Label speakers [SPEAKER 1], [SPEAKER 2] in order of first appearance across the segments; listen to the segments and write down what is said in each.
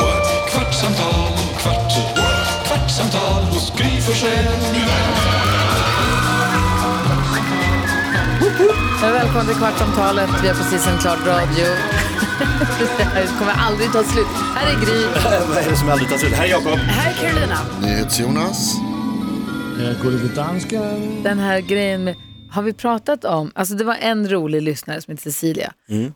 [SPEAKER 1] what? kvartsamtal, kvart, what? kvartsamtal hos Gry Forssell med vänner.
[SPEAKER 2] Välkommen till Kvartsamtalet. Vi har precis en klart radio. Det här kommer aldrig ta slut. Här är Gry.
[SPEAKER 3] Vad är det som aldrig tar slut? Här är Jakob.
[SPEAKER 2] Här är Carolina.
[SPEAKER 4] NyhetsJonas.
[SPEAKER 2] Den här grejen med, har vi pratat om, alltså det var en rolig lyssnare som heter Cecilia.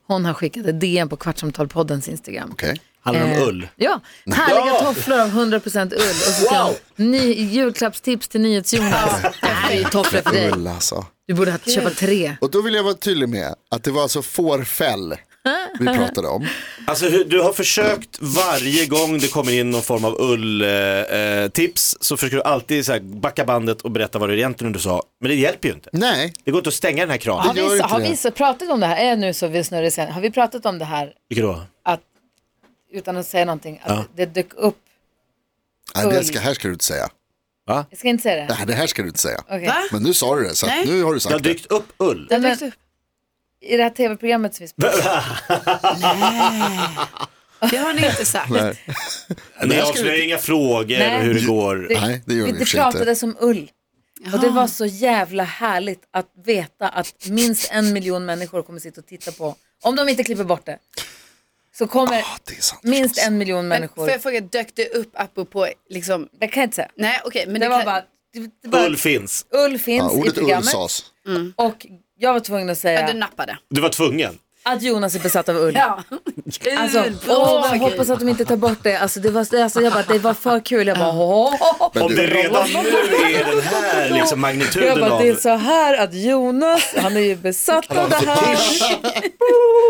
[SPEAKER 2] Hon har skickat ett DM på Kvartsamtalpoddens Instagram.
[SPEAKER 4] Okej.
[SPEAKER 3] Handlar det om
[SPEAKER 2] Eh,
[SPEAKER 3] ull?
[SPEAKER 2] Ja, härliga tofflor av 100% ull. Och så ska
[SPEAKER 3] Wow.
[SPEAKER 2] hon, ny, julklappstips till NyhetsJonas. Det här är ju tofflor för dig.
[SPEAKER 4] Ull alltså.
[SPEAKER 2] Du borde ha, köpa tre.
[SPEAKER 4] Och då vill jag vara tydlig med att det var alltså fårfäll vi pratade om.
[SPEAKER 3] Alltså, hur- du har försökt varje gång det kommer in någon form av ulltips eh, eh, tips, så försöker du alltid så här, backa bandet och berätta vad det egentligen du sa. Men det hjälper ju inte.
[SPEAKER 4] Nej,
[SPEAKER 3] Det går inte att stänga den här kranen.
[SPEAKER 2] Har
[SPEAKER 4] gör
[SPEAKER 2] vi,
[SPEAKER 4] inte
[SPEAKER 2] har
[SPEAKER 4] det.
[SPEAKER 2] vi så pratat om det här? Är nu så vi snurrar sen. Har vi pratat om det här
[SPEAKER 3] Vilket då?
[SPEAKER 2] att, utan att säga någonting, att det dök upp.
[SPEAKER 4] Nej det ska, här ska du inte säga.
[SPEAKER 2] Jag ska inte säga det.
[SPEAKER 4] Nej, det här ska du inte säga.
[SPEAKER 2] Okej.
[SPEAKER 4] Men nu sa du det, så att nu har du
[SPEAKER 3] Det har
[SPEAKER 4] sagt det.
[SPEAKER 3] dykt upp ull.
[SPEAKER 2] Nej, men, I det här tv-programmet som vi spelar.
[SPEAKER 5] Det har ni inte sagt.
[SPEAKER 4] Nej,
[SPEAKER 3] Ni avslöjar inga frågor
[SPEAKER 2] Nej.
[SPEAKER 3] och hur det går.
[SPEAKER 4] nej, det gör vi i och för
[SPEAKER 2] Det
[SPEAKER 4] sig inte.
[SPEAKER 2] pratades om ull. Och det var så jävla härligt att veta att minst en miljon människor kommer sitta och titta på, om de inte klipper bort det, så kommer
[SPEAKER 4] Ja, Ah, det är sant.
[SPEAKER 2] minst en miljon
[SPEAKER 5] Men
[SPEAKER 2] människor.
[SPEAKER 5] får jag fråga, dök det upp apropå liksom,
[SPEAKER 2] Det kan jag inte säga.
[SPEAKER 5] nej okej, men
[SPEAKER 2] Det,
[SPEAKER 5] det,
[SPEAKER 2] var
[SPEAKER 5] kan,
[SPEAKER 2] bara, det, det bara,
[SPEAKER 3] Ull finns.
[SPEAKER 2] ull
[SPEAKER 4] Ja,
[SPEAKER 2] finns i
[SPEAKER 4] ordet ull
[SPEAKER 2] programmet.
[SPEAKER 4] sades.
[SPEAKER 2] Och jag var tvungen att
[SPEAKER 5] ja, du
[SPEAKER 2] säga
[SPEAKER 5] nappade.
[SPEAKER 3] Du var tvungen.
[SPEAKER 2] att Jonas är besatt av ull.
[SPEAKER 5] Ja. Oh
[SPEAKER 2] Alltså, åh, jag hoppas att de inte tar bort det. Alltså, det var, alltså, jag bara, det var för kul. Jag bara, åh, åh, åh.
[SPEAKER 3] Om
[SPEAKER 4] du-
[SPEAKER 3] det redan nu är den här liksom,
[SPEAKER 2] Jag
[SPEAKER 3] magnituden
[SPEAKER 2] bara,
[SPEAKER 3] av...
[SPEAKER 2] det är så här att Jonas, han är ju besatt av det här.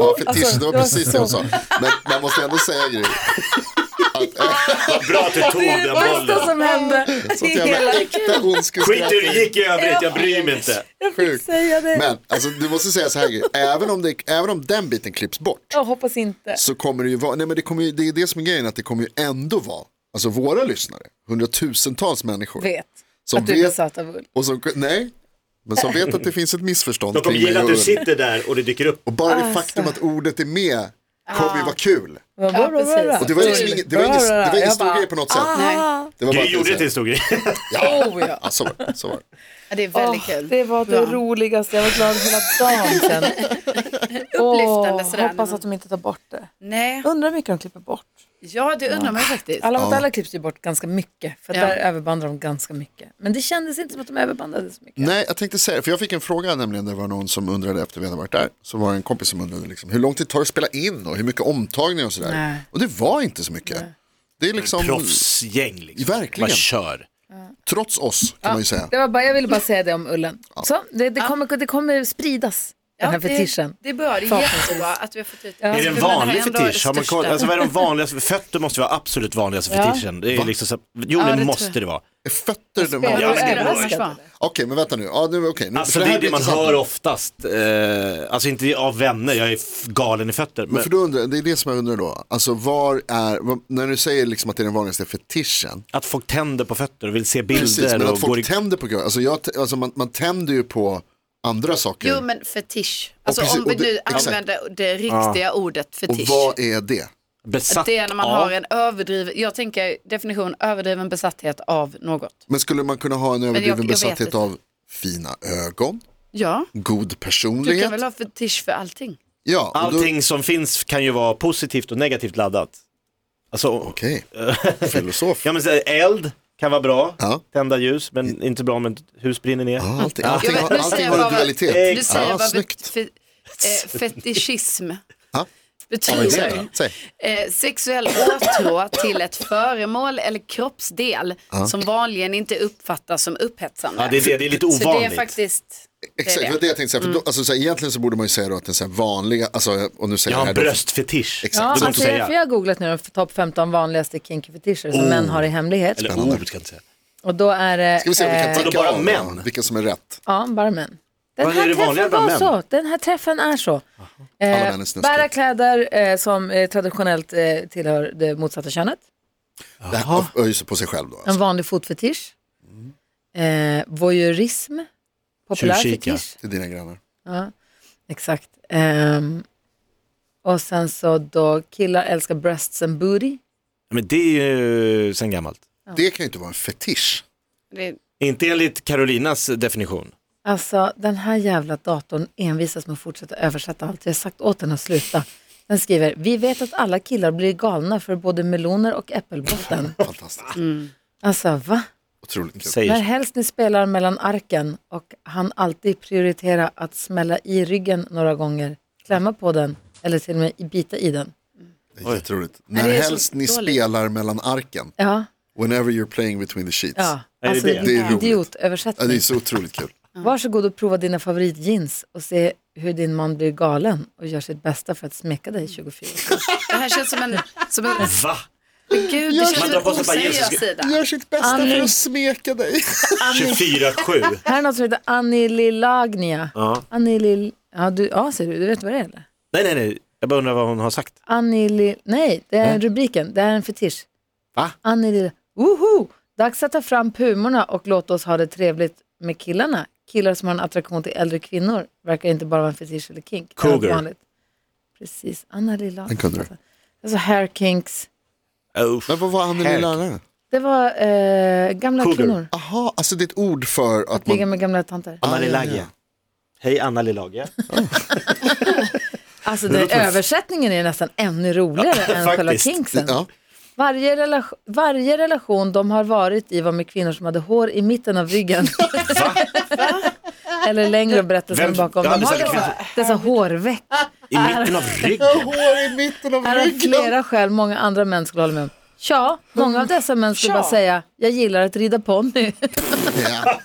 [SPEAKER 4] Ja, fetisch, det var
[SPEAKER 2] det var
[SPEAKER 4] precis det hon sa. Men man måste ändå säga grejer. äh,
[SPEAKER 3] Vad Bra att du tog
[SPEAKER 2] Det är
[SPEAKER 3] den
[SPEAKER 2] det värsta
[SPEAKER 3] bollen.
[SPEAKER 2] som hände i
[SPEAKER 4] Sånt jävla
[SPEAKER 2] hela...
[SPEAKER 4] äkta ondskeskratt.
[SPEAKER 3] Skit hur det gick i övrigt, jag bryr mig inte.
[SPEAKER 2] Jag fick
[SPEAKER 4] Sjukt.
[SPEAKER 2] säga det.
[SPEAKER 4] Men alltså, du måste säga så här, Gry. även om, det, även om den biten klipps bort
[SPEAKER 2] Jag hoppas inte.
[SPEAKER 4] så kommer det ju vara, nej men det, kommer ju, det är det som är grejen, att det kommer ju ändå vara, alltså våra lyssnare, hundratusentals människor.
[SPEAKER 2] Vet
[SPEAKER 4] som
[SPEAKER 2] att du är besatt av ull.
[SPEAKER 4] och som, nej, men som vet att det finns ett missförstånd
[SPEAKER 3] De kommer
[SPEAKER 4] kring mig
[SPEAKER 3] gilla att
[SPEAKER 4] och
[SPEAKER 3] du
[SPEAKER 4] ull.
[SPEAKER 3] sitter där och det dyker upp.
[SPEAKER 4] Och bara
[SPEAKER 2] Alltså.
[SPEAKER 4] det faktum att ordet är med kommer
[SPEAKER 2] Ah.
[SPEAKER 4] ju vara kul.
[SPEAKER 2] Bra, bra, bra, bra.
[SPEAKER 5] precis.
[SPEAKER 4] Och det var liksom ingen, det var ingen, det var ingen stor grej på något sätt.
[SPEAKER 2] ah.
[SPEAKER 5] Nej.
[SPEAKER 4] Det var
[SPEAKER 3] Du
[SPEAKER 4] bara att
[SPEAKER 3] gjorde det till
[SPEAKER 4] säga,
[SPEAKER 3] en stor grej.
[SPEAKER 4] Ja,
[SPEAKER 2] Oh,
[SPEAKER 4] ja, så var det. Så var det.
[SPEAKER 5] Ja, det är väldigt
[SPEAKER 2] Åh,
[SPEAKER 5] kul.
[SPEAKER 2] Det var det
[SPEAKER 5] Bra.
[SPEAKER 2] roligaste, jag var glad hela dagen sen.
[SPEAKER 5] Upplyftande
[SPEAKER 2] Åh,
[SPEAKER 5] sådär.
[SPEAKER 2] hoppas att de inte tar bort det.
[SPEAKER 5] Nej,
[SPEAKER 2] Undrar hur mycket de klipper bort.
[SPEAKER 5] ja det undrar man ju faktiskt.
[SPEAKER 2] Alla mot alla klipps ju bort ganska mycket, för
[SPEAKER 5] Ja.
[SPEAKER 2] där överbandar de ganska mycket. Men det kändes inte som att de överbandade så mycket.
[SPEAKER 4] Nej, jag tänkte säga det, för jag fick en fråga nämligen, det var någon som undrade efter vi hade varit där, så var det en kompis som undrade liksom, hur lång tid tar det att spela in och hur mycket omtagningar och sådär.
[SPEAKER 2] Nej.
[SPEAKER 4] Och det var inte så mycket. Det är liksom,
[SPEAKER 3] Proffsgäng liksom.
[SPEAKER 4] Verkligen.
[SPEAKER 3] Bara kör.
[SPEAKER 4] trots oss kan man ju säga.
[SPEAKER 2] Det var bara, jag ville bara säga det om ullen. Så, det, det, kommer, det kommer spridas, den här
[SPEAKER 5] det-
[SPEAKER 2] fetischen.
[SPEAKER 5] Det är bra, det är
[SPEAKER 2] Förhoppningsvis.
[SPEAKER 5] jättebra att vi har fått ut
[SPEAKER 2] Ja.
[SPEAKER 3] Är det
[SPEAKER 5] För
[SPEAKER 3] en
[SPEAKER 5] man har
[SPEAKER 3] vanlig
[SPEAKER 5] ändå Alltså, det
[SPEAKER 3] fetisch? Har man
[SPEAKER 5] största.
[SPEAKER 3] koll? Alltså vad är de vanligaste? Fötter måste vara absolut vanligaste fetischen. Det är liksom så... Jo,
[SPEAKER 5] det
[SPEAKER 3] det,
[SPEAKER 5] tror jag.
[SPEAKER 3] måste det vara.
[SPEAKER 4] Fötter, den
[SPEAKER 2] Är
[SPEAKER 4] var...
[SPEAKER 2] du
[SPEAKER 3] Ja, det är
[SPEAKER 2] överraskad?
[SPEAKER 5] bra.
[SPEAKER 4] Okej, men vänta nu. Ja, nu okay. nu
[SPEAKER 3] Alltså
[SPEAKER 4] för
[SPEAKER 3] det är
[SPEAKER 4] här blir
[SPEAKER 3] det man
[SPEAKER 4] intressant.
[SPEAKER 3] hör oftast. Eh, alltså inte av vänner, jag är f- galen i fötter. Men,
[SPEAKER 4] Men för då undrar, det är det som jag undrar då. Alltså var är, vad- när du säger liksom att det är den vanligaste fetischen.
[SPEAKER 3] Att folk tänder på fötter och vill se bilder
[SPEAKER 4] Precis, men
[SPEAKER 3] och
[SPEAKER 4] att
[SPEAKER 3] går i...
[SPEAKER 4] folk tänder på grejer. Alltså, jag, alltså man, man tänder ju på andra saker.
[SPEAKER 5] Jo men fetisch, alltså
[SPEAKER 4] precis,
[SPEAKER 5] om vi
[SPEAKER 4] och det-
[SPEAKER 5] nu
[SPEAKER 4] exakt.
[SPEAKER 5] använder det riktiga ordet
[SPEAKER 4] och
[SPEAKER 5] fetisch.
[SPEAKER 4] vad är det?
[SPEAKER 3] Besatt
[SPEAKER 5] Det är när man
[SPEAKER 3] av-
[SPEAKER 5] har en överdriven, jag tänker definition överdriven besatthet av något.
[SPEAKER 4] Men skulle man kunna ha en
[SPEAKER 5] jag-
[SPEAKER 4] överdriven
[SPEAKER 5] jag vet
[SPEAKER 4] besatthet
[SPEAKER 5] inte.
[SPEAKER 4] av fina ögon,
[SPEAKER 5] Ja,
[SPEAKER 4] god
[SPEAKER 5] du
[SPEAKER 4] personlighet?
[SPEAKER 5] kan väl ha fetisch för allting.
[SPEAKER 4] Ja, och då-
[SPEAKER 3] Allting som finns kan ju vara positivt och negativt laddat. Alltså,
[SPEAKER 4] Okej, filosof.
[SPEAKER 3] ja men så här, eld kan vara bra,
[SPEAKER 4] Ja.
[SPEAKER 3] tända ljus, men inte bra om ett hus brinner ner.
[SPEAKER 4] Ja, Allting, allting,
[SPEAKER 5] Jag
[SPEAKER 4] har,
[SPEAKER 5] vet, nu
[SPEAKER 4] allting
[SPEAKER 5] säger
[SPEAKER 4] har
[SPEAKER 5] jag
[SPEAKER 4] en
[SPEAKER 5] bara-
[SPEAKER 4] dualitet.
[SPEAKER 5] Du säger
[SPEAKER 4] ja,
[SPEAKER 5] vad
[SPEAKER 4] snyggt.
[SPEAKER 5] bet- fe- eh, fetischism
[SPEAKER 4] Ja. Ja, vad är det
[SPEAKER 5] betyder.
[SPEAKER 4] då? Säg.
[SPEAKER 5] Eh, sexuell åtrå till ett föremål eller kroppsdel som vanligen inte uppfattas som upphetsande.
[SPEAKER 3] Ja, det, är det, det är lite ovanligt.
[SPEAKER 5] Så det är faktiskt,
[SPEAKER 4] Exakt, det
[SPEAKER 5] det. Mm.
[SPEAKER 4] var det jag tänkte säga. För då, alltså, så här, egentligen så borde man ju säga då att den så här vanliga, alltså, och nu säger
[SPEAKER 3] Jag har en
[SPEAKER 4] jag det här då-
[SPEAKER 3] bröstfetisch.
[SPEAKER 4] Exakt.
[SPEAKER 3] Det går
[SPEAKER 2] Ja,
[SPEAKER 3] inte att
[SPEAKER 2] alltså, jag,
[SPEAKER 3] säga. Oh.
[SPEAKER 2] för jag har googlat nu de topp 15 vanligaste kinky-fetischer som män har i hemlighet.
[SPEAKER 3] Eller ord ska jag inte säga.
[SPEAKER 2] Och då är det... eh,
[SPEAKER 4] Ska vi se om vi
[SPEAKER 5] Eh.
[SPEAKER 4] kan
[SPEAKER 3] Vadå,
[SPEAKER 4] ticka
[SPEAKER 3] bara
[SPEAKER 4] av då,
[SPEAKER 3] män?
[SPEAKER 4] vilka som är rätt.
[SPEAKER 2] Ja, bara män. Den
[SPEAKER 3] Vad är
[SPEAKER 2] här
[SPEAKER 3] det vanliga
[SPEAKER 2] träffen var
[SPEAKER 3] bland män?
[SPEAKER 2] så. Den här träffen är så.
[SPEAKER 4] Alla
[SPEAKER 2] Eh,
[SPEAKER 4] män är snuskiga.
[SPEAKER 2] bära kläder eh, som eh, traditionellt eh, tillhör det motsatta könet.
[SPEAKER 4] Det här öser på sig själv då.
[SPEAKER 2] En
[SPEAKER 4] Alltså.
[SPEAKER 2] vanlig fotfetisch. Eh, voyeurism. Populär
[SPEAKER 3] Tjuvkika.
[SPEAKER 2] fetisch.
[SPEAKER 4] Till dina grannar.
[SPEAKER 2] Exakt. Ehm, och sen så då killar älskar breasts and booty.
[SPEAKER 3] Men det är ju sen gammalt.
[SPEAKER 4] Det kan ju inte vara en fetisch.
[SPEAKER 5] Det,
[SPEAKER 3] Inte enligt Carolinas definition.
[SPEAKER 2] Alltså den här jävla datorn envisas med att fortsätta översätta allt. Jag har sagt åt den att sluta. Den skriver, vi vet att alla killar blir galna för både meloner och äppelbotten.
[SPEAKER 4] Fantastiskt.
[SPEAKER 2] Alltså va?
[SPEAKER 4] Otroligt kul.
[SPEAKER 2] När
[SPEAKER 3] Säger.
[SPEAKER 2] helst ni spelar mellan arken och han alltid prioritera att smälla i ryggen några gånger, klämma på den eller till och med bita i den.
[SPEAKER 4] Det är jätteroligt. När
[SPEAKER 5] det är så
[SPEAKER 4] helst ni
[SPEAKER 5] dåligt.
[SPEAKER 4] spelar mellan arken,
[SPEAKER 2] Ja,
[SPEAKER 4] whenever you're playing between the sheets.
[SPEAKER 2] ja.
[SPEAKER 3] det
[SPEAKER 2] Alltså
[SPEAKER 3] det?
[SPEAKER 4] Det är
[SPEAKER 2] vilken
[SPEAKER 4] roligt. Ja,
[SPEAKER 2] idiotöversättning.
[SPEAKER 4] det är så otroligt kul.
[SPEAKER 2] Varsågod och prova dina favoritjeans och se hur din man blir galen och gör sitt bästa för att smeka dig i 24
[SPEAKER 5] det här känns som en... Som en
[SPEAKER 3] Va?
[SPEAKER 5] men gud, det känns
[SPEAKER 3] Man
[SPEAKER 5] som
[SPEAKER 3] drar
[SPEAKER 5] en
[SPEAKER 3] på sig ett par
[SPEAKER 5] oseriös
[SPEAKER 3] Jesus-
[SPEAKER 5] sida.
[SPEAKER 4] Gör sitt bästa
[SPEAKER 2] Annie.
[SPEAKER 4] för att smeka dig.
[SPEAKER 3] 24-7.
[SPEAKER 2] Här är något som heter Annililagnia.
[SPEAKER 3] Ja.
[SPEAKER 2] Annilil... Ja, du, ja, ser du. Du vet vad det är eller?
[SPEAKER 3] Nej, nej, nej. Jag bara undrar vad hon har sagt.
[SPEAKER 2] Annilil... Nej, det är rubriken. Det är en fetisch.
[SPEAKER 3] Va?
[SPEAKER 2] Annilil... Woho! Dags att ta fram pumorna och låta oss ha det trevligt med killarna. Killar som har en attraktion till äldre kvinnor verkar inte bara vara en fetisch eller kink. Det är
[SPEAKER 3] Cougar.
[SPEAKER 2] något vanligt. Precis. Annililagnia.
[SPEAKER 4] Den kunde du.
[SPEAKER 2] Alltså hair kinks.
[SPEAKER 3] Oh.
[SPEAKER 4] Men vad var Anneli
[SPEAKER 3] Herk.
[SPEAKER 4] lärare?
[SPEAKER 2] Det var eh, gamla
[SPEAKER 3] Cougar.
[SPEAKER 2] kvinnor.
[SPEAKER 4] Aha, alltså det är ett ord för att
[SPEAKER 2] Att ligga
[SPEAKER 4] man...
[SPEAKER 2] med gamla tanter.
[SPEAKER 3] Anna
[SPEAKER 4] Ja, ja,
[SPEAKER 3] Lilagia.
[SPEAKER 4] ja.
[SPEAKER 3] Hej Anna Lilagia.
[SPEAKER 2] Alltså den översättningen är nästan ännu roligare än själva
[SPEAKER 3] faktiskt.
[SPEAKER 2] kinksen.
[SPEAKER 4] Ja,
[SPEAKER 2] Varje, relation, varje relation de har varit i var med kvinnor som hade hår i mitten av ryggen. Eller längre berättelsen
[SPEAKER 3] Vem-
[SPEAKER 2] bakom.
[SPEAKER 3] Jag har
[SPEAKER 2] De har
[SPEAKER 3] aldrig sett en
[SPEAKER 2] dessa, dessa hårveck.
[SPEAKER 3] I mitten av ryggen.
[SPEAKER 2] Oh.
[SPEAKER 4] hår i mitten av
[SPEAKER 2] Här har
[SPEAKER 4] ryggen.
[SPEAKER 2] flera skäl många andra män skulle hålla med om. Tja, många av dessa män skulle bara säga, jag gillar att rida ponny.
[SPEAKER 4] Ja.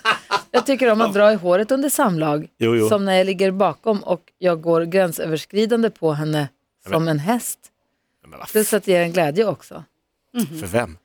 [SPEAKER 2] Jag tycker om att dra i håret under samlag.
[SPEAKER 3] Jo, jo.
[SPEAKER 2] Som när jag ligger bakom och jag går gränsöverskridande på henne som en häst. Plus att det ger en glädje också.
[SPEAKER 3] För vem?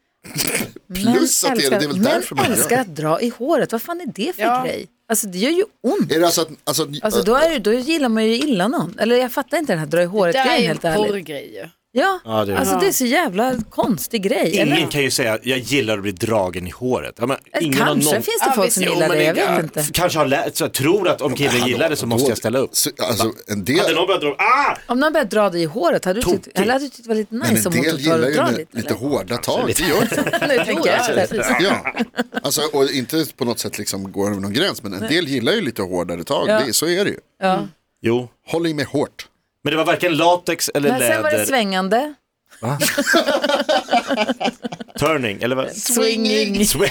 [SPEAKER 4] Plus att det är, det är väl
[SPEAKER 2] män
[SPEAKER 4] därför man gör
[SPEAKER 2] älskar
[SPEAKER 4] det.
[SPEAKER 2] att dra i håret. Vad fan är det för
[SPEAKER 5] Ja.
[SPEAKER 2] grej? Alltså det gör ju ont.
[SPEAKER 4] Är det alltså att... Alltså, att-
[SPEAKER 2] Alltså då, är, det- då gillar man ju illa någon. Eller jag fattar inte den här dra i
[SPEAKER 5] Det här är
[SPEAKER 2] håret-grejen
[SPEAKER 5] ju en
[SPEAKER 2] helt ärligt.
[SPEAKER 5] porrgrej ju.
[SPEAKER 2] Ja,
[SPEAKER 3] Ja, det är det.
[SPEAKER 2] alltså det är så jävla konstig grej.
[SPEAKER 3] Ingen
[SPEAKER 2] Eller?
[SPEAKER 3] kan ju säga jag gillar att bli dragen i håret. Ja, men,
[SPEAKER 2] Eller
[SPEAKER 3] ingen har
[SPEAKER 2] Kanske
[SPEAKER 3] någon-
[SPEAKER 2] finns det
[SPEAKER 5] Ja,
[SPEAKER 2] folk
[SPEAKER 5] visst,
[SPEAKER 2] som
[SPEAKER 3] Jo,
[SPEAKER 2] gillar
[SPEAKER 3] men
[SPEAKER 2] det, jag vet
[SPEAKER 3] ja,
[SPEAKER 2] inte.
[SPEAKER 3] Kanske har lärt, så jag tror att om killen
[SPEAKER 4] hallå,
[SPEAKER 3] gillar det så måste jag ställa upp.
[SPEAKER 4] Så, alltså, en
[SPEAKER 3] Hade
[SPEAKER 4] del,
[SPEAKER 3] någon börjat dra, ah!
[SPEAKER 2] Om någon börjar dra dig i håret, hade du tyckt,
[SPEAKER 3] Tokig.
[SPEAKER 2] eller hade du tyckt det var lite
[SPEAKER 4] men
[SPEAKER 2] nice
[SPEAKER 4] en
[SPEAKER 2] om hon
[SPEAKER 4] del
[SPEAKER 2] tog tar
[SPEAKER 4] gillar
[SPEAKER 2] och
[SPEAKER 4] ju
[SPEAKER 2] drar
[SPEAKER 4] den,
[SPEAKER 2] lite?
[SPEAKER 4] lite
[SPEAKER 2] eller?
[SPEAKER 4] hårda tag. Det gör inte.
[SPEAKER 2] Nu tänker jag efter.
[SPEAKER 4] Ja. Alltså, och inte på något sätt liksom går över någon gräns, men en del gillar ju lite hårdare tag.
[SPEAKER 2] Ja.
[SPEAKER 4] Det, så är det ju.
[SPEAKER 2] Ja.
[SPEAKER 3] Jo,
[SPEAKER 4] Håll i mig hårt.
[SPEAKER 3] men det var varken latex eller
[SPEAKER 2] Men sen var det
[SPEAKER 3] läder.
[SPEAKER 2] svängande.
[SPEAKER 3] Turning, eller vad?
[SPEAKER 2] Swinging.
[SPEAKER 3] Swing.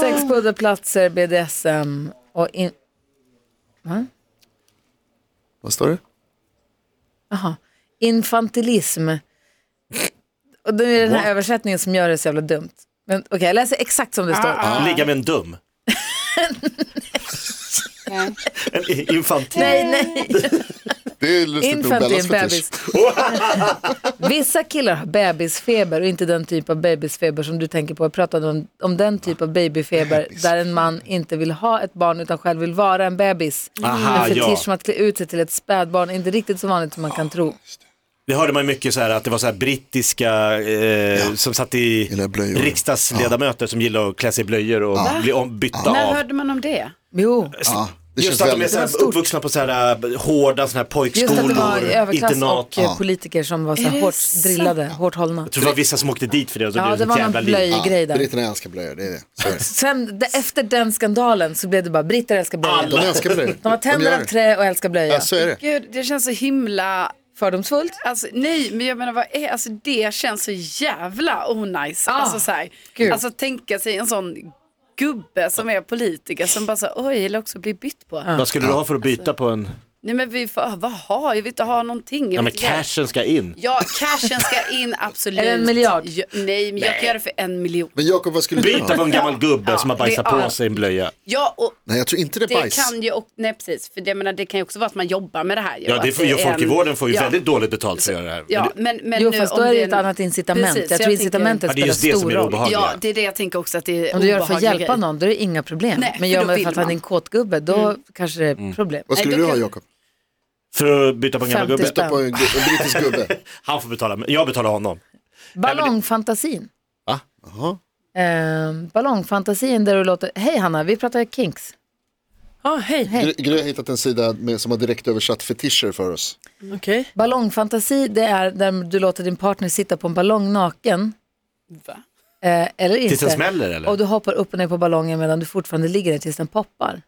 [SPEAKER 2] Sex puddelplatser, BDSM och in...
[SPEAKER 4] Vad står det?
[SPEAKER 2] infantilism. Och det är den här översättningen som gör det så jävla dumt. Men okej, jag läser exakt som det står.
[SPEAKER 4] Ah.
[SPEAKER 3] Ligga med en dum. en i- infantil.
[SPEAKER 2] Nej, nej,
[SPEAKER 4] Det är lustigt nog Bellas
[SPEAKER 2] infantil,
[SPEAKER 4] fetisch.
[SPEAKER 2] bebis. Vissa killar har bebisfeber och inte den typ av bebisfeber som du tänker på. Jag pratade om, om den typ av babyfeber där en man inte vill ha ett barn utan själv vill vara en bebis.
[SPEAKER 3] Aha,
[SPEAKER 2] en fetisch
[SPEAKER 3] ja.
[SPEAKER 2] som att klä ut sig till ett spädbarn, inte riktigt så vanligt som man kan tro.
[SPEAKER 3] Det hörde man ju mycket så här att det var så här brittiska eh, som satt i
[SPEAKER 4] Gillar blöjor.
[SPEAKER 3] riksdagsledamöter som gillade att klä sig i blöjor och bli ombytta
[SPEAKER 5] När
[SPEAKER 3] av.
[SPEAKER 5] hörde man om det?
[SPEAKER 2] Jo,
[SPEAKER 4] Ja, det
[SPEAKER 3] Just
[SPEAKER 4] känns
[SPEAKER 3] att de är
[SPEAKER 4] väldigt...
[SPEAKER 3] så här uppvuxna på så här eh, hårda såna här
[SPEAKER 2] just att det var
[SPEAKER 3] pojkskolor,
[SPEAKER 2] överklass
[SPEAKER 3] internat.
[SPEAKER 2] och eh, politiker som var så här
[SPEAKER 5] Är det
[SPEAKER 2] hårt
[SPEAKER 5] sant?
[SPEAKER 2] drillade, hårt hållna.
[SPEAKER 3] Jag tror det var vissa som åkte dit för det och så
[SPEAKER 2] Ja,
[SPEAKER 3] blev
[SPEAKER 2] det
[SPEAKER 3] det ett
[SPEAKER 2] var
[SPEAKER 3] jävla
[SPEAKER 2] någon
[SPEAKER 3] liv.
[SPEAKER 2] blöjgrej där.
[SPEAKER 4] Britterna älskar blöjor, det är det. Så är det.
[SPEAKER 2] Sen, de, efter den skandalen så blev det bara britter älskar
[SPEAKER 4] De
[SPEAKER 2] blöjor.
[SPEAKER 4] älskar blöjor.
[SPEAKER 2] De har
[SPEAKER 4] gör
[SPEAKER 2] tänder av
[SPEAKER 4] det. Alltså-
[SPEAKER 2] trä och älskar blöja.
[SPEAKER 4] Ja, så är det.
[SPEAKER 5] Gud, det känns så himla...
[SPEAKER 2] Fördomsfullt.
[SPEAKER 5] Alltså, nej, men jag menar, vad är, alltså, det känns så jävla onajs. alltså, så här,
[SPEAKER 2] gud.
[SPEAKER 5] alltså tänka sig en sån gubbe som är politiker som bara så här, oj, jag vill också bli bytt på.
[SPEAKER 3] Ah. Vad skulle du ha för att byta på en
[SPEAKER 5] Nej men vi får, vad har jag? vill inte ha någonting. Jag
[SPEAKER 3] Ja, men
[SPEAKER 5] vill inte göra-
[SPEAKER 3] cashen ska in.
[SPEAKER 5] Ja, cashen ska in absolut.
[SPEAKER 2] Eller en miljard.
[SPEAKER 5] Ja, nej, men jag kan göra det för en miljon.
[SPEAKER 4] Men Jakob, vad skulle du
[SPEAKER 3] Byta på
[SPEAKER 4] ha?
[SPEAKER 3] en gammal gubbe som har
[SPEAKER 5] det
[SPEAKER 3] bajsat på
[SPEAKER 5] är-
[SPEAKER 3] sig en blöja.
[SPEAKER 5] Ja, och
[SPEAKER 4] Nej, jag tror inte det är
[SPEAKER 5] det
[SPEAKER 4] bajs.
[SPEAKER 5] kan ju också, nej precis, för det, jag menar, det kan ju också vara att man jobbar med det här. ju,
[SPEAKER 3] Ja,
[SPEAKER 5] att
[SPEAKER 3] det får ju
[SPEAKER 5] är
[SPEAKER 3] folk i
[SPEAKER 5] en-
[SPEAKER 3] vården får ju
[SPEAKER 5] ja,
[SPEAKER 3] väldigt dåligt betalt för att göra det här. Men
[SPEAKER 5] Ja,
[SPEAKER 3] det-
[SPEAKER 5] men, men
[SPEAKER 2] Jo
[SPEAKER 5] nu,
[SPEAKER 2] fast
[SPEAKER 5] om
[SPEAKER 2] då är det ju
[SPEAKER 5] en-
[SPEAKER 2] ett annat incitament.
[SPEAKER 5] Precis,
[SPEAKER 2] jag tror incitamentet
[SPEAKER 3] Ja, det är
[SPEAKER 2] spelar
[SPEAKER 3] just det som
[SPEAKER 2] stor
[SPEAKER 3] är
[SPEAKER 2] roll.
[SPEAKER 3] obehagligt.
[SPEAKER 5] Ja, det är det jag tänker också att det är
[SPEAKER 2] Om du gör det för att
[SPEAKER 5] obehagliga
[SPEAKER 2] hjälpa
[SPEAKER 5] grejer.
[SPEAKER 2] någon då är det inga problem.
[SPEAKER 5] Nej,
[SPEAKER 2] Men
[SPEAKER 5] för
[SPEAKER 2] gör
[SPEAKER 5] då
[SPEAKER 2] man det
[SPEAKER 5] vill
[SPEAKER 2] för att han är
[SPEAKER 5] man.
[SPEAKER 2] en kåtgubbe då kanske det
[SPEAKER 3] Mm.
[SPEAKER 2] är problem.
[SPEAKER 4] Vad skulle
[SPEAKER 5] Nej, då
[SPEAKER 4] du ha
[SPEAKER 5] kan-
[SPEAKER 4] Jakob?
[SPEAKER 3] För att byta på en gammal
[SPEAKER 2] 50
[SPEAKER 3] gubbe.
[SPEAKER 2] spänn.
[SPEAKER 4] Byta på en, gu- en brittisk gubbe.
[SPEAKER 3] Han får betala, men jag betalar honom.
[SPEAKER 2] Ballongfantasin.
[SPEAKER 3] Va?
[SPEAKER 4] Jaha.
[SPEAKER 2] Eh, ballongfantasin där du låter, hej Hanna, vi pratar kinks.
[SPEAKER 6] Ja, hej.
[SPEAKER 4] Gry- Gry har hittat en sida med, som har direkt översatt fetischer för oss.
[SPEAKER 6] Okej.
[SPEAKER 2] Ballongfantasi det är där du låter din partner sitta på en ballong naken.
[SPEAKER 5] Va?
[SPEAKER 2] Eh, eller inte.
[SPEAKER 3] Tills den smäller eller?
[SPEAKER 2] Och du hoppar upp och ner på ballongen medan du fortfarande ligger där tills den poppar.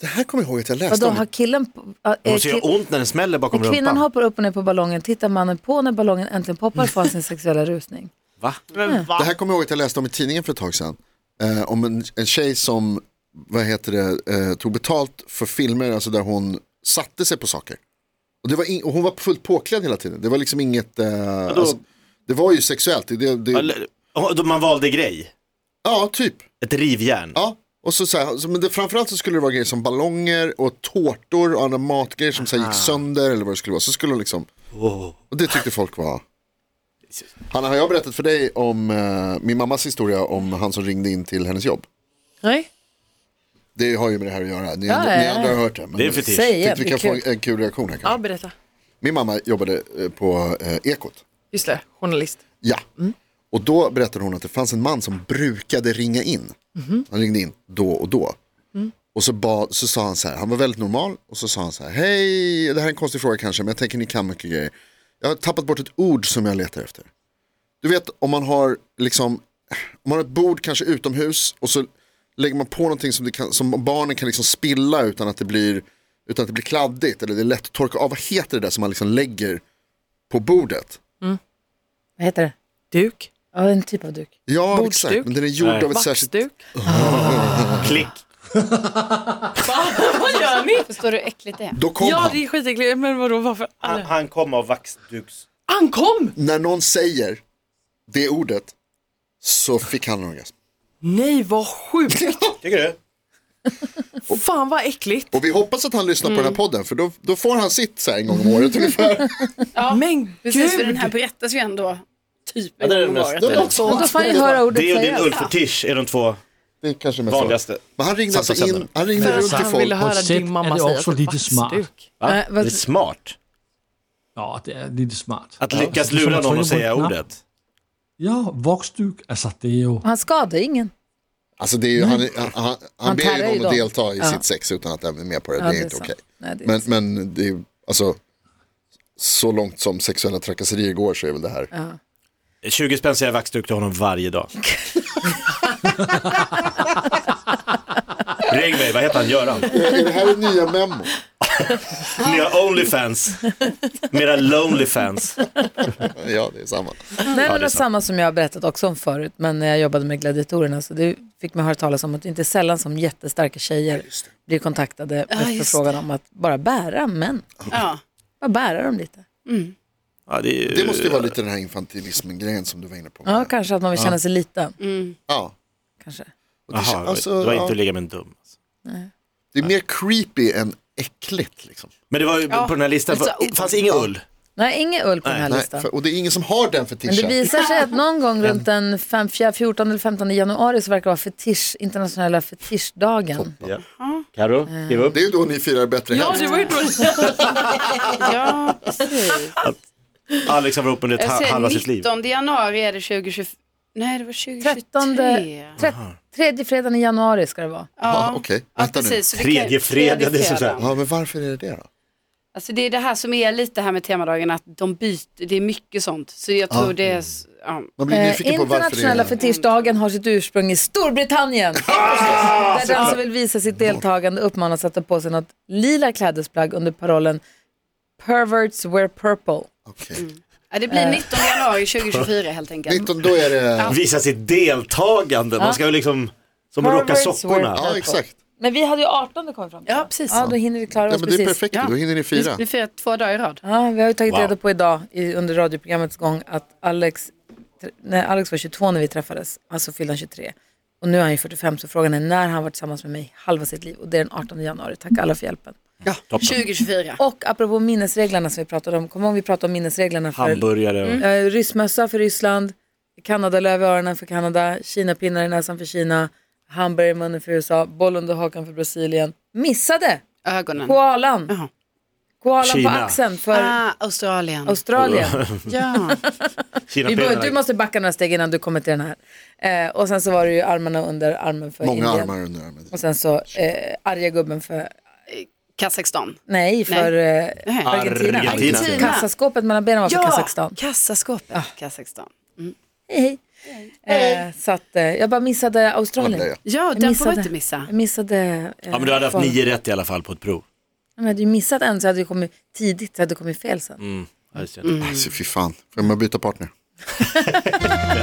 [SPEAKER 4] Det här kommer jag ihåg att jag läste
[SPEAKER 2] Vadå,
[SPEAKER 4] om.
[SPEAKER 2] har killen... Äh,
[SPEAKER 5] Eh,
[SPEAKER 3] Det
[SPEAKER 2] är
[SPEAKER 3] måste
[SPEAKER 2] kill-
[SPEAKER 3] göra ont när den smäller bakom
[SPEAKER 2] när
[SPEAKER 3] rumpan.
[SPEAKER 2] kvinnan hoppar upp och ner på ballongen tittar mannen på när ballongen äntligen poppar får han sin sexuella rusning.
[SPEAKER 3] Va?
[SPEAKER 4] Det här kommer jag ihåg att jag läste om i tidningen för ett tag sedan. Eh, om en, en tjej som vad heter det, eh, tog betalt för filmer alltså där hon satte sig på saker. Och, det var in, och hon var fullt påklädd hela tiden. Det var liksom inget... Eh, alltså, det var ju sexuellt. Det, det, det,
[SPEAKER 3] Eller- Ja, då Man valde grej.
[SPEAKER 4] ja, typ.
[SPEAKER 3] Ett rivjärn.
[SPEAKER 4] Ja. Och så, så här, så- men det, framförallt så skulle det vara grejer som ballonger och tårtor och andra matgrejer som så här, gick sönder eller vad det skulle vara. Så skulle hon liksom... Och det tyckte folk var... Hanna, har jag berättat för dig om eh, min mammas historia om han som ringde in till hennes jobb?
[SPEAKER 6] Nej.
[SPEAKER 4] Det har ju med det här att göra. Ni,
[SPEAKER 2] Ja,
[SPEAKER 4] ni
[SPEAKER 2] ja, ja.
[SPEAKER 4] andra har hört det. Men
[SPEAKER 3] Det är en fetisch.
[SPEAKER 2] Säg igen,
[SPEAKER 4] tyckte vi kan
[SPEAKER 2] det är
[SPEAKER 4] få en, en kul reaktion här kanske.
[SPEAKER 6] Ja, berätta.
[SPEAKER 4] Min mamma jobbade eh, på eh, Ekot.
[SPEAKER 6] Just det, journalist.
[SPEAKER 4] Ja. Och då berättade hon att det fanns en man som brukade ringa in. Han ringde in då och då. Och så, bad, så sa han så här, han var väldigt normal. Och så sa han så här, hej, det här är en konstig fråga kanske, men jag tänker ni kan mycket grejer. Jag har tappat bort ett ord som jag letar efter. Du vet om man har liksom, om man har ett bord kanske utomhus och så lägger man på någonting som, det kan, som barnen kan liksom spilla utan att det blir utan att det blir kladdigt eller det är lätt att torka av. Vad heter det där som man liksom lägger på bordet?
[SPEAKER 2] Vad heter det?
[SPEAKER 6] Duk.
[SPEAKER 2] Ja, en typ av duk.
[SPEAKER 4] Ja,
[SPEAKER 6] Bordsduk?
[SPEAKER 4] exakt. Men den är gjord av ett särskilt...
[SPEAKER 6] Vaxduk.
[SPEAKER 3] Klick.
[SPEAKER 6] Vad gör ni?
[SPEAKER 5] Förstår du hur äckligt det är?
[SPEAKER 4] Då kom
[SPEAKER 6] Ja,
[SPEAKER 4] han.
[SPEAKER 6] det är skitäckligt. Men vadå, varför?
[SPEAKER 3] Han,
[SPEAKER 6] Alla...
[SPEAKER 3] han kom av vaxduks...
[SPEAKER 6] Han kom!
[SPEAKER 4] När någon säger det ordet så fick han en orgasm.
[SPEAKER 6] Nej, vad sjukt.
[SPEAKER 3] Tycker du?
[SPEAKER 6] Fan vad äckligt.
[SPEAKER 4] Och vi hoppas att han lyssnar
[SPEAKER 2] Mm.
[SPEAKER 4] på den här podden för då, då får han sitt så här en gång om året ungefär.
[SPEAKER 6] Men
[SPEAKER 5] Precis, för
[SPEAKER 6] gud.
[SPEAKER 5] den här berättas ju ändå typ
[SPEAKER 3] Ja,
[SPEAKER 5] en
[SPEAKER 3] det är
[SPEAKER 5] gång
[SPEAKER 3] det
[SPEAKER 5] om
[SPEAKER 3] mest-
[SPEAKER 5] året.
[SPEAKER 4] Det, är något
[SPEAKER 2] Men då
[SPEAKER 4] sånt.
[SPEAKER 2] får han ju höra ordet
[SPEAKER 3] Det och din
[SPEAKER 2] sägas.
[SPEAKER 3] ullfetisch är de två
[SPEAKER 4] det är kanske mest
[SPEAKER 3] vanligaste.
[SPEAKER 4] sånt. Men han ringde alltså
[SPEAKER 3] Samtalsämnen.
[SPEAKER 4] in, han ringde runt till
[SPEAKER 6] Han ville
[SPEAKER 4] folk.
[SPEAKER 6] höra
[SPEAKER 7] På sätt
[SPEAKER 6] din mamma
[SPEAKER 7] är det
[SPEAKER 6] säga
[SPEAKER 7] också
[SPEAKER 6] att
[SPEAKER 7] lite
[SPEAKER 6] vaxduk.
[SPEAKER 7] smart.
[SPEAKER 3] Va?
[SPEAKER 5] Eh,
[SPEAKER 2] Nej, vad-
[SPEAKER 3] Det är smart.
[SPEAKER 7] Ja, det är lite smart.
[SPEAKER 3] Att lyckas
[SPEAKER 7] Det är som
[SPEAKER 3] lura
[SPEAKER 7] att
[SPEAKER 3] någon att
[SPEAKER 7] trycka på
[SPEAKER 3] säga
[SPEAKER 7] en knapp.
[SPEAKER 3] ordet.
[SPEAKER 7] Ja, voxduk, alltså det är ju...
[SPEAKER 2] Han skadar ingen.
[SPEAKER 4] Alltså det är ju,
[SPEAKER 2] Mm.
[SPEAKER 4] han, han, han, han ber
[SPEAKER 2] tärrar
[SPEAKER 4] ju
[SPEAKER 2] ju
[SPEAKER 4] någon att
[SPEAKER 2] dem.
[SPEAKER 4] delta i
[SPEAKER 2] Ja.
[SPEAKER 4] sitt sex utan att den är med på det.
[SPEAKER 2] Ja,
[SPEAKER 4] det är
[SPEAKER 2] det är
[SPEAKER 4] inte
[SPEAKER 2] sant.
[SPEAKER 4] okej.
[SPEAKER 2] Nej, det är
[SPEAKER 4] Men, men det är, alltså, så långt som sexuella trakasserier går så är väl det här.
[SPEAKER 3] 20 spänn säger jag vaxduk till honom varje dag. Ring mig, vad heter han? Göran?
[SPEAKER 4] Är det här nya memo?
[SPEAKER 3] Mera Onlyfans. Mera Lonelyfans.
[SPEAKER 4] Ja, det är samma.
[SPEAKER 2] Nej, men
[SPEAKER 3] det är
[SPEAKER 2] det samma som jag har berättat också om förut, men när jag jobbade med gladiatorerna så det fick man höra talas om att det inte är sällan som jättestarka tjejer blir kontaktade med
[SPEAKER 5] just
[SPEAKER 2] förfrågan om att bara bära män.
[SPEAKER 5] Ja. Mm,
[SPEAKER 2] Bara bära dem lite.
[SPEAKER 3] Ja, det är ju...
[SPEAKER 4] Det måste ju vara lite den här infantilismen-grejen som du var inne på.
[SPEAKER 2] Ja, kanske att man vill känna sig liten.
[SPEAKER 5] mm.
[SPEAKER 4] Ja.
[SPEAKER 2] Kanske.
[SPEAKER 3] Jaha,
[SPEAKER 4] Alltså,
[SPEAKER 3] det
[SPEAKER 4] ja.
[SPEAKER 3] var inte att ligga med en dum.
[SPEAKER 4] Det är mer creepy än äckligt. Liksom.
[SPEAKER 3] Men det var ju på den här listan,
[SPEAKER 5] Alltså,
[SPEAKER 3] det fanns ingen ull.
[SPEAKER 2] Nej, ingen ull på den här
[SPEAKER 4] Nej,
[SPEAKER 2] listan.
[SPEAKER 4] för, och det är ingen som har den
[SPEAKER 2] Men det
[SPEAKER 4] fetischen.
[SPEAKER 2] visar sig att någon gång runt den fem- fjär- 14 eller 15 januari så verkar det vara fetisch, internationella fetischdagen.
[SPEAKER 3] Ja. Karo, skriv upp.
[SPEAKER 4] Det är ju då ni firar bättre
[SPEAKER 6] Ja,
[SPEAKER 4] helst.
[SPEAKER 6] det var ju då
[SPEAKER 5] ja, precis.
[SPEAKER 3] Alex har varit ihop under ett
[SPEAKER 5] Jag
[SPEAKER 3] ha- halva sitt
[SPEAKER 5] säger
[SPEAKER 3] liv.
[SPEAKER 5] 19 januari är det 2024. Nej, det var
[SPEAKER 2] 13,
[SPEAKER 5] 2023.
[SPEAKER 2] tre, tredje fredagen i januari ska det vara.
[SPEAKER 4] Ja, Okej,
[SPEAKER 5] Ja,
[SPEAKER 4] vänta nu.
[SPEAKER 5] precis. Så det kan-
[SPEAKER 3] Tredje fredag, det är så
[SPEAKER 5] fredag.
[SPEAKER 3] här.
[SPEAKER 4] Ja, men varför är det det då?
[SPEAKER 5] Alltså det är det här som är lite här med temadagen, att de byter, det är mycket sånt. Så jag tror det är, s- ja.
[SPEAKER 4] Man blir
[SPEAKER 2] Eh,
[SPEAKER 4] nyfiken på varför det är
[SPEAKER 2] internationella
[SPEAKER 4] det.
[SPEAKER 2] fetischdagen har sitt ursprung i Storbritannien.
[SPEAKER 4] Ah!
[SPEAKER 2] där den som vill visa sitt deltagande uppmanas att ta på sig något lila klädesplagg under parollen Perverts wear purple.
[SPEAKER 4] Okej.
[SPEAKER 5] ja, det
[SPEAKER 2] Eh.
[SPEAKER 5] blir 19 januari 2024 helt enkelt.
[SPEAKER 4] 19, då är det...
[SPEAKER 3] Visa sitt deltagande, man ska ju liksom, som att rocka
[SPEAKER 2] Perverts wear
[SPEAKER 3] sockorna.
[SPEAKER 2] purple.
[SPEAKER 4] Ja, exakt.
[SPEAKER 2] Men vi hade ju 18 det kom vi fram till.
[SPEAKER 5] Ja, precis.
[SPEAKER 2] Ja, då hinner vi klara
[SPEAKER 4] Ja,
[SPEAKER 2] oss
[SPEAKER 4] men det är
[SPEAKER 2] precis.
[SPEAKER 4] perfekt, då hinner ni fira.
[SPEAKER 5] Vi firar två dagar i rad.
[SPEAKER 2] Ja, vi har ju tagit
[SPEAKER 3] Wow.
[SPEAKER 2] reda på idag i, under radioprogrammets gång att Alex, tr- när Alex var 22 när vi träffades, alltså fyllde han 23. Och nu är han ju 45 så frågan är när han var tillsammans med mig halva sitt liv och det är den 18 januari. Tack alla för hjälpen.
[SPEAKER 5] 2024.
[SPEAKER 2] Och apropå minnesreglerna som vi pratade om, kommer ihåg vi pratade om minnesreglerna för
[SPEAKER 3] Hamburgare och...
[SPEAKER 2] eh, ryssmössa för Ryssland, Kanadalöv i öronen för Kanada, Kinapinnar i näsan för Kina, hamburgare i munnen för USA, boll under hakan för Brasilien. Missade
[SPEAKER 5] Ögonen.
[SPEAKER 2] koalan.
[SPEAKER 5] Jaha.
[SPEAKER 2] Koalan
[SPEAKER 3] Kina.
[SPEAKER 2] på axeln för
[SPEAKER 5] Ah, Australien.
[SPEAKER 2] Australien.
[SPEAKER 5] ja.
[SPEAKER 3] Kina
[SPEAKER 2] Vi bör,
[SPEAKER 3] pengarna.
[SPEAKER 2] du måste backa några steg innan du kommer till den här. Eh, och sen så var det ju armarna under armen för
[SPEAKER 4] Många
[SPEAKER 2] Indien.
[SPEAKER 4] armar under armen.
[SPEAKER 2] Och sen så eh, arga gubben för,
[SPEAKER 5] Kazakstan.
[SPEAKER 2] nej, för eh,
[SPEAKER 5] Nej.
[SPEAKER 2] Argentina.
[SPEAKER 3] Argentina.
[SPEAKER 2] Kassaskåpet mellan benen var för Alltså, Kazakstan. Ah.
[SPEAKER 5] Kassaskåpet. Kazakstan. Mm.
[SPEAKER 2] Hej, hej. Eh, så att, eh, jag bara missade Australien.
[SPEAKER 4] Ja, det är
[SPEAKER 5] Ja,
[SPEAKER 2] Jag
[SPEAKER 5] den får
[SPEAKER 2] missade.
[SPEAKER 5] man inte missa.
[SPEAKER 2] Jag missade... Eh,
[SPEAKER 3] Ja men du hade haft
[SPEAKER 2] val.
[SPEAKER 3] nio rätt i alla fall på ett prov.
[SPEAKER 2] Ja, men jag hade ju missat en så hade jag kommit tidigt, så hade jag kommit fel sen.
[SPEAKER 3] Mm. Ja, just det.
[SPEAKER 4] Alltså fy fan, får man byta partner?
[SPEAKER 3] Ja,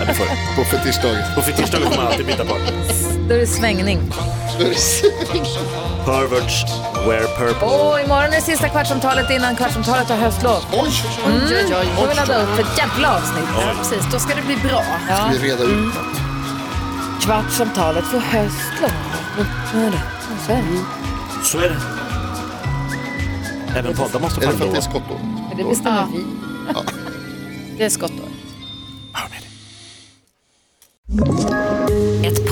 [SPEAKER 3] det får du.
[SPEAKER 4] På fetischdagen.
[SPEAKER 3] På fetischdagen får man alltid byta partner.
[SPEAKER 2] Då är det svängning.
[SPEAKER 3] Perverts wear purple.
[SPEAKER 2] Och imorgon är det sista kvartsamtalet innan kvartsamtalet har höstlov.
[SPEAKER 4] Oj,
[SPEAKER 2] Mm. Då får vi ladda upp för ett jävla avsnitt.
[SPEAKER 5] Ja, precis. Då ska det bli bra.
[SPEAKER 4] vi reda
[SPEAKER 2] Mm.
[SPEAKER 4] ut något.
[SPEAKER 2] Kvartsamtalet för höstlov.
[SPEAKER 3] Mm.
[SPEAKER 2] Så är det. Så är det.
[SPEAKER 3] Så är det. Även poddar måste
[SPEAKER 4] Är det
[SPEAKER 3] fan
[SPEAKER 4] för att det
[SPEAKER 3] då.
[SPEAKER 4] är skottår?
[SPEAKER 2] Men det bestämmer
[SPEAKER 5] Ja.
[SPEAKER 2] vi.
[SPEAKER 5] Det är skottår.
[SPEAKER 8] Ett